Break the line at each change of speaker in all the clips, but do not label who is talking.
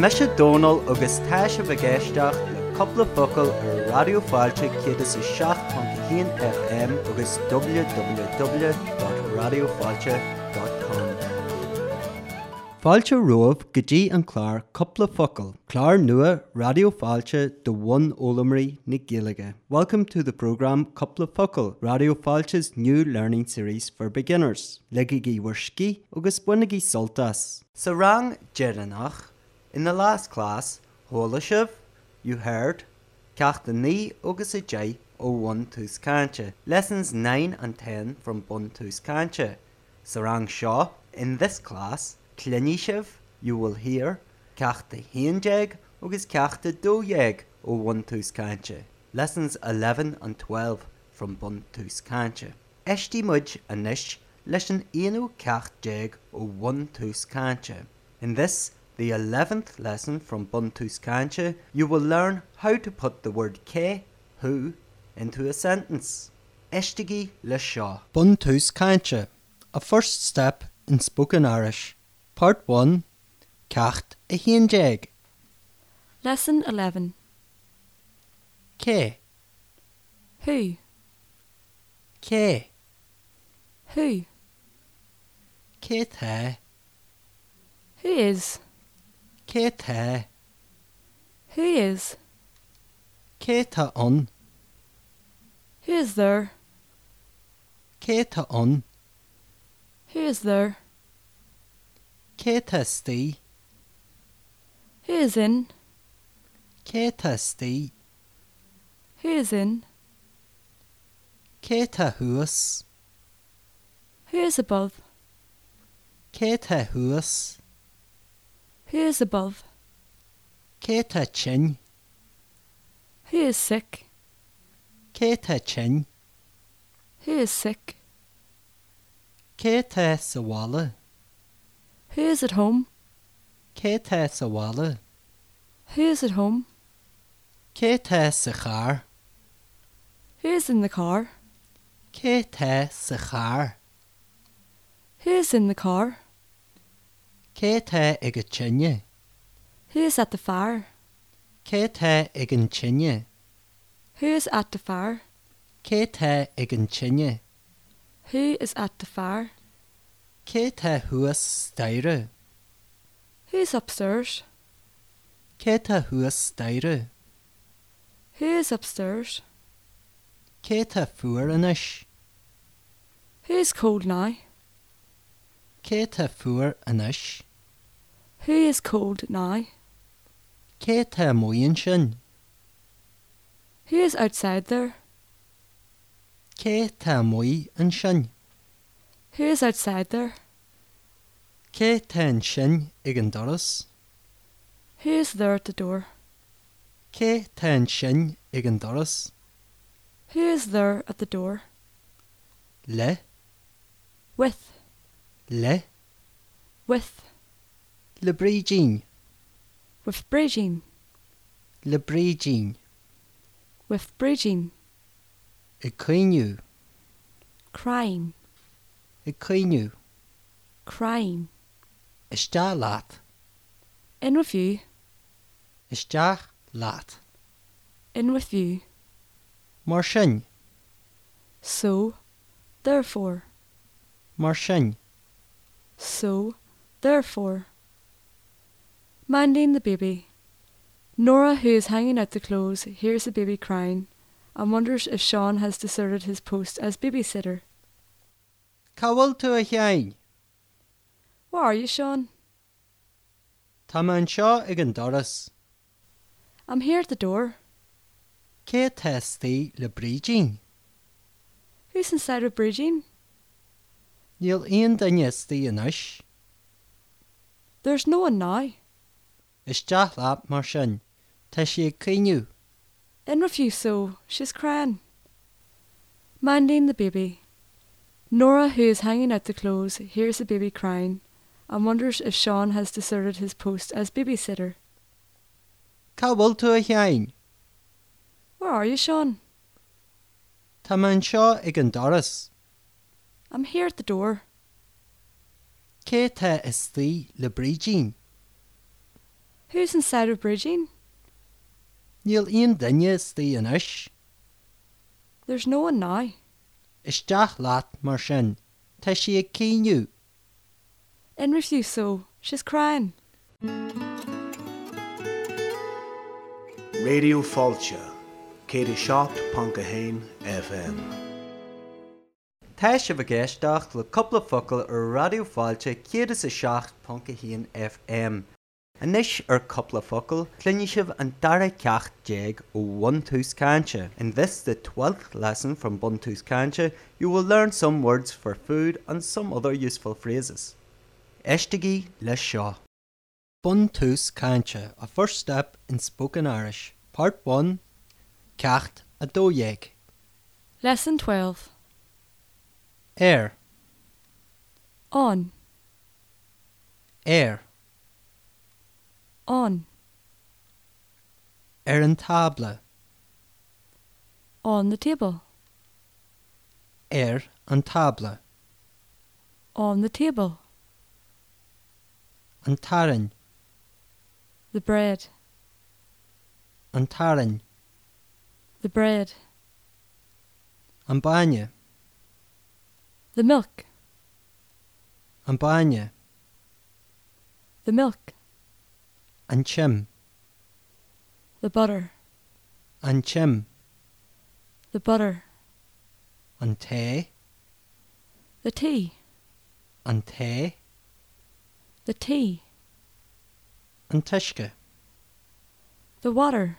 me se dóal agus tá se bhgéisteach le coppla focail ar radioáilte chéad is 16.1 FM agus www.radioáilte.com. Fáilte roimh gotí an chláir coppla focail, Chláir nua radioáilte do bhain ólamarí na giige. Welcome to the program Coppla Focail, Radioáilte's new learning series for beginners, legaí bhuiiscí agus bunaí soltas. Sa rang deannach, in the last class, hólaisih, you heard, ceachta ní agus i dé ó 1 túscáinte, lessons 9 and 10 from 1 túscáinte. Sa rang seo, in this class, Cliníisih you will hear ceachta hééag agus ceachta dóhéag ó bhain túúsáinte. Lessons 11 an 12 from bun túúsáinte. Etí muid a níis leis an aonú ceachtdéag ó bhain túúsáinte. In this, the 11th lesson from bun túúsáinte, you will learn how to put the word "k" who into a sentence. Eistigí le seo. Bun túúsáinte, a first step in spoken Irish. Part 1 Cecht a héonjag
Lesson 11.
cé
Who?
cé
Who?
cé the
Who is?
cé the
Who is?
cé tá an
Who is there?
cé tá an
Who is there?
cé testí
Who is in?
cé testí
Who is in?
cé tá thuas
Who is above?
cé tá thuas
Who is above?
cé tá tin
Who is sick?
cé tá tin
Who is sick?
cé tá sahála
Who is at home?
cé tá sahála
Who is at home?
cé tá sa char
Who is in the car?
cé tá sa char
Who is in the car?
cé tá ag go tinne
Who is at the fire?
cé tá ag an tinne
Who is at the fire?
Cé the ag an tinne,
Who is at the fire?
cé the thuas staire,
Who is upstairs?
cé the thuas staire,
Who is upstairs?
cé the fuair inis,
Who is cold now?
cé the fuair inis,
Who is cold now?
cé the muon sin,
Who is outside there?
cé the muí an sin,
Who is outside there?
cé the an sin ag an doras,
Who is there at the door?
cé the an sin ag an doras,
Who is there at the door?
le,
With,
le,
with,
le brídín,
with Brigine,
le brídín,
with Brigine,
i cuiinú,
crying,
i cuiinú,
crying,
istá láat,
in with you,
e isteach láat,
in with you,
mar sin,
so, therefore,
mar sin.
so, therefore. Minding the baby. Nora, who is hanging out the clothes, hears the baby crying and wonders if Sean has deserted his post as babysitter.
Cahfuil tú a chein,
Where are you, Sean?
Tá an seo ag an doras,
I'm here at the door.
cé testaí le brídín,
Who's inside with Brigine?
Níl aon daineistí inis,
There's no one now.
isteach leat E mar sin, Tá si cuiinú,
In with you, so she's crying. Minding the baby. Nora, who is hanging out the clothes, hears the baby crying and wonders if Sean has deserted his post as babysitter.
Cahfuil tú a chein,
Where are you, Sean?
Tá an seo ag an doras,
I'm here at the door.
cé the istí le brídín,
Who's inside of Bridging?
Níl íon danne tí inis
There's no one now.
isteach leat mar sin, Tá si a cíniu.
In refuse so. She's crying.
Radio Fáilte cé i seacht panca hain FM.
Tá se bh ggéisteach le coppla focail ar radioáilte céad is a seach pontca híon FM. Anis ar coppla focail clunne sibh an dara ceach déag ó Bontus Cancha. In this, the 12th lesson from Bontus Cancha, you will learn some words for food and some other useful phrases. Eistigí le seo. Bontus Cancha, a first step in spoken Irish. Part 1 Ceacht a dóhéag.
Lesson 12.
Air,
On,
air.
on,
ar an tabla
on the table,
ar er an tabla
on the table,
an taran
the bread,
an taran
the bread,
an baine
the milk,
an baine
the milk,
an chim
the butter,
an chim
the butter,
an té
the tea,
an té
the tea,
an tuisce
the water,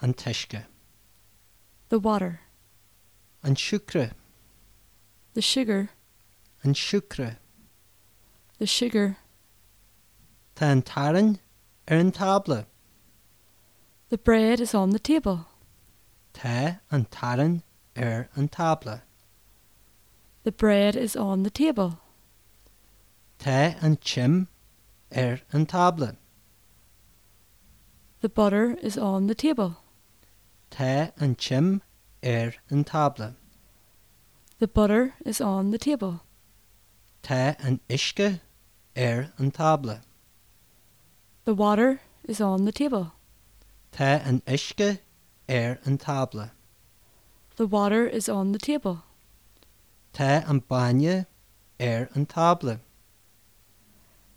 an tuisce
the water,
an siúcre
the sugar,
an siúcre
the sugar,
Tá an taran ar an tabla
the bread is on the table,
Tá an taran ar an tabla
the bread is on the table,
Tá an chim ar an tabla
the butter is on the table,
Tá an chim ar an tabla
the butter is on the table,
Tá an isce ar an tabla
the water is on the table,
Tá an isce ar an tabla.
the water is on the table,
Tá an baine ar an tabla.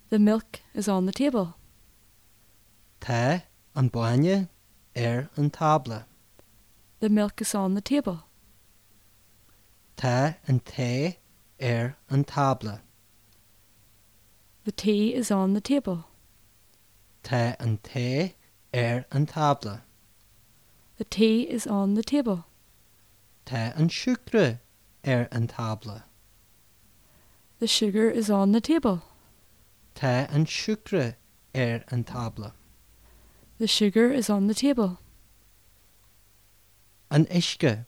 the milk is on the table,
Tá an baine ar an tabla.
the milk is on the table.
Tá an té ar an tabla.
The tea is on the table.
Tá an té ar an tabla.
The tea is on the table.
Tá an siúcre ar an tabla.
The sugar is on the table.
Tá an siúcre ar an tabla.
The sugar is on the table.
An isce,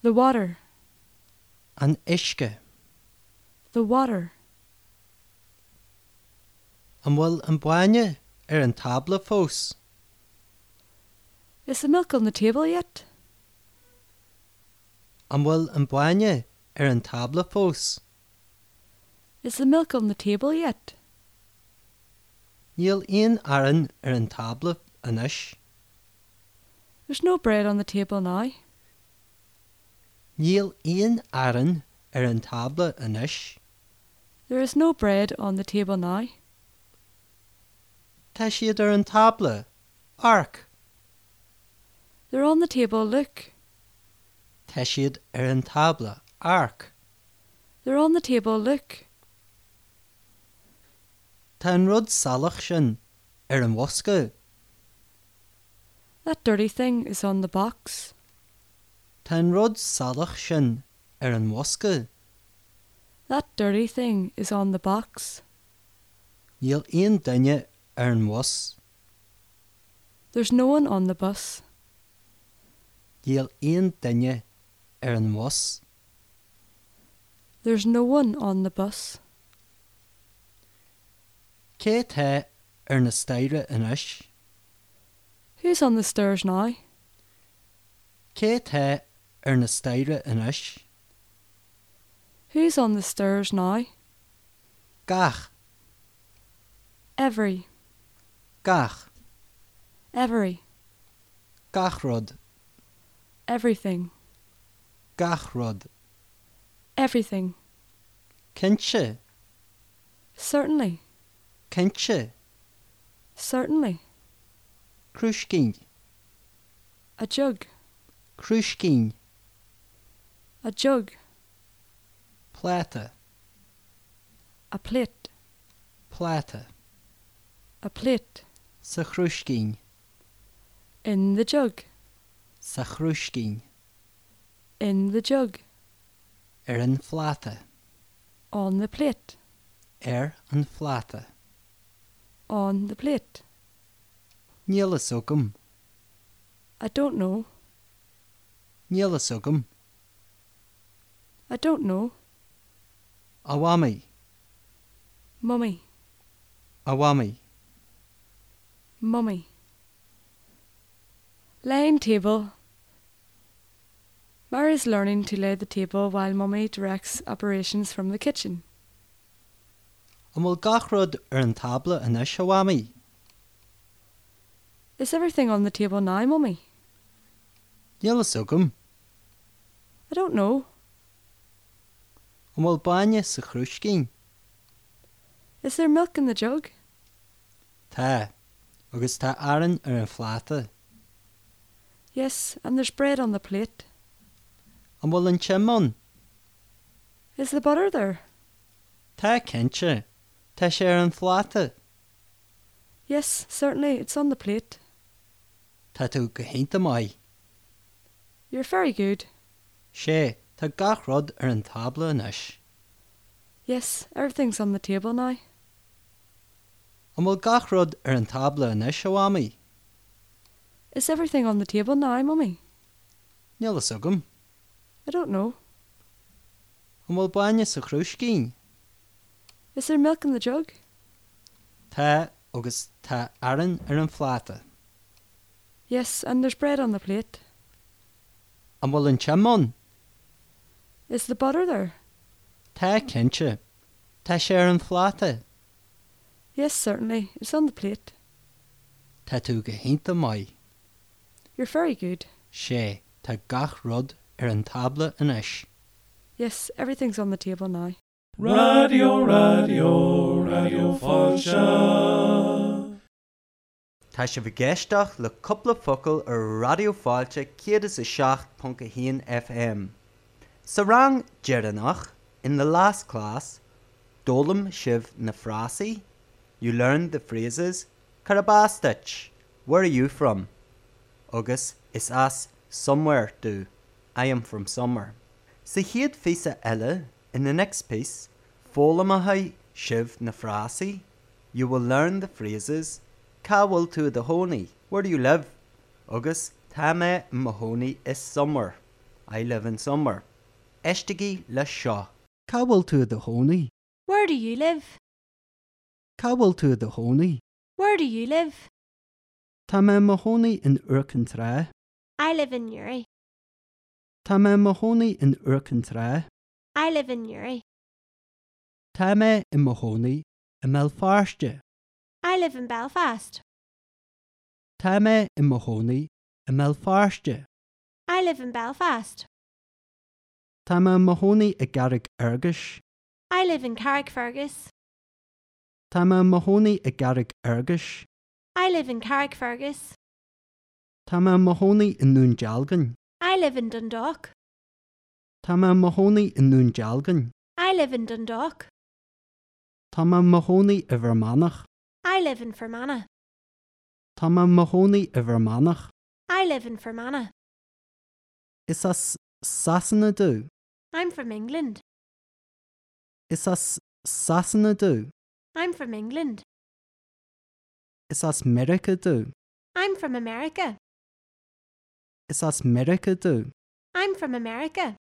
The water,
an isce,
the water,
an bhfuil an baine ar an tabla fós.
is the milk on the table yet?
An bhfuil an baine ar an tabla fós.
Is the milk on the table yet?
Níl aon airan ar an tabla inis,
There's no bread on the table now.
níl aon airan ar er an tabla inis,
There is no bread on the table now.
tá siad ar er an tabla, arc,
They're on the table, look.
tá siad ar er an tabla, arc,
They're on the table, look.
Tá an rud salach sin ar an wasca,
That dirty thing is on the box.
Tá an rud salach sin ar an wasca,
That dirty thing is on the box.
níl aon duine ar Er an was,
There's no one on the bus.
níl aon duine ar Er an was,
There's no one on the bus.
cé tá ar er na staire inis,
Who's on the stairs now?
cé tá ar er na staire inis,
Who's on the stairs now?
gach,
every,
gach,
every,
gachrod,
everything,
gachrod,
everything,
kinse,
certainly,
kinse,
certainly,
kruiskin,
a jug,
kruiskin,
a jug,
plata,
a plate,
plata,
a plate,
sa kruiskin,
in the jug,
sa kruiskin,
in the jug,
er an flata,
on the plate,
er an flata,
on the plate.
nielasogum,
I don't know,
nielasogum,
I don't know,
awami,
mummy,
awami,
mummy. Laying table. Mara is learning to lay the table while mummy directs operations from the kitchen.
amul gachrod er an tabla an is awami,
Is everything on the table now, mummy?
nielasogum,
I don't know.
amul banya sa kruiskin,
Is there milk in the jug?
ta, agus ta aran er an flata,
Yes, and there's bread on the plate.
amul an chemon,
Is the butter there?
ta kinse, ta sé ar an flata,
Yes, certainly, it's on the plate.
ta tú go hénta mai,
You're very good.
sé tá gachrod ar an tabla an is,
Yes, everything's on the table now.
amul gachrod ar an tabla an is awami,
Is everything on the table now, mummy?
nielasogum,
I don't know.
amul banya sa kruiskin,
Is there milk in the jug?
ta agus ta aran ar an flata,
Yes, and there's bread on the plate.
amul an chemon,
Is the butter there?
ta kinse, ta sé ar an flata,
Yes, certainly, it's on the plate.
ta tú go hénta mai.
You're very good.
sé tá gach rud ar an tabla inis.
Yes, everything's on the table now.
Radio, radio, radio Falsche.
Tá se bhgéisteach le coppla focail ar radioáilte céad is seach pontca haon FM. Sa rang dearannach in the last class, dólam sibh na frásaí, you learned the phrases Karabastich, where are you from? Agus is as somewhere do. I am from somewhere. Sa hiad fisa eile in the next piece, fólamathe sibh na frásaí, you will learn the phrases Cawal to the honey. Where do you live? Agus Tame Mahoney is summer. I live in summer. Eshtigi le seo. Cawal to the honey.
Where do you live?
Cawal to the honey.
Where do you live?
Tame Mahoney in Urkentra.
I live in Uri.
Tame Mahoney in Urkentra.
I live in Uri.
Tame in Mahoney in Melfarste.
I live in Belfast.
Tame in Mahoney in Melfarste.
I live in Belfast.
Tame Mahoney a Garrick Ergish.
I live in Carrickfergus.
Tame Mahoney a Garrick Ergish.
I live in Carrickfergus.
Tame Mahoney in Nunjalgan.
I live in Dundalk.
Tama Mahoney in Nunjalgan,
I live in Dundalk.
Tama Mahoney i Vermanach,
I live in Fermanagh.
Tama Mahoney i Vermanach,
I live in Fermanagh.
is as Sassanadu,
I'm from England.
is as Sassanadu,
I'm from England.
is as Mericadu,
I'm from America.
is as Mericadu,
I'm from America.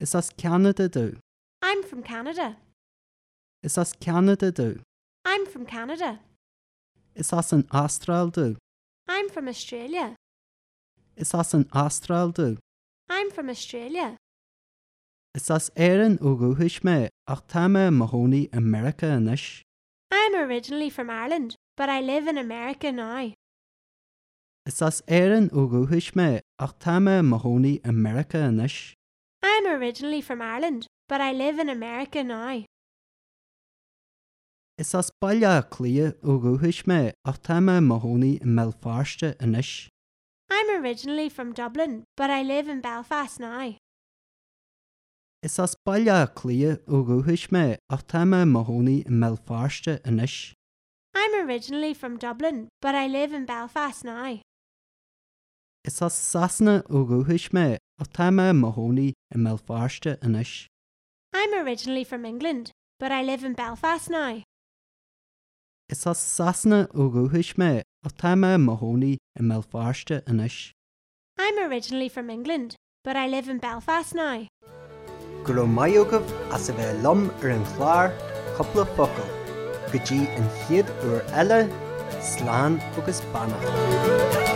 is as Canadadu,
I'm from Canada.
is as Canadadu,
I'm from Canada.
is as an Astraldu,
I'm from Australia.
is as an Astraldu,
I'm from Australia.
is as Erin Uguhishme, ach Tama Mahoney America anish,
I'm originally from Ireland, but I live in America now.
Is as éan ógóhuiis mé ach táime mothónaí America inis.
I'm originally from Ireland, but I live in America now.
Is as bailile clia ógóhuiis mé ach táime mothónaí i meáste inis.
I'm originally from Dublin, but I live in Belfast now.
Is as bailile clia ógóhuiis mé ach táime mothónaí i meáste inis.
I'm originally from Dublin, but I live in Belfast now.
Is as sana ógóhuiis mé ach táime mothónaí i meáste inis.
I'm originally from England, but I live in Belfast now.
Is as sana ógóhuiis mé ach táime mothónaí i meáste inis.
I'm originally from England, but I live in Belfast now.
Go raibh maigah as a bheith lom ar an chláir coppla focail, go dtí an chiad uair eile, sláán agus bannach.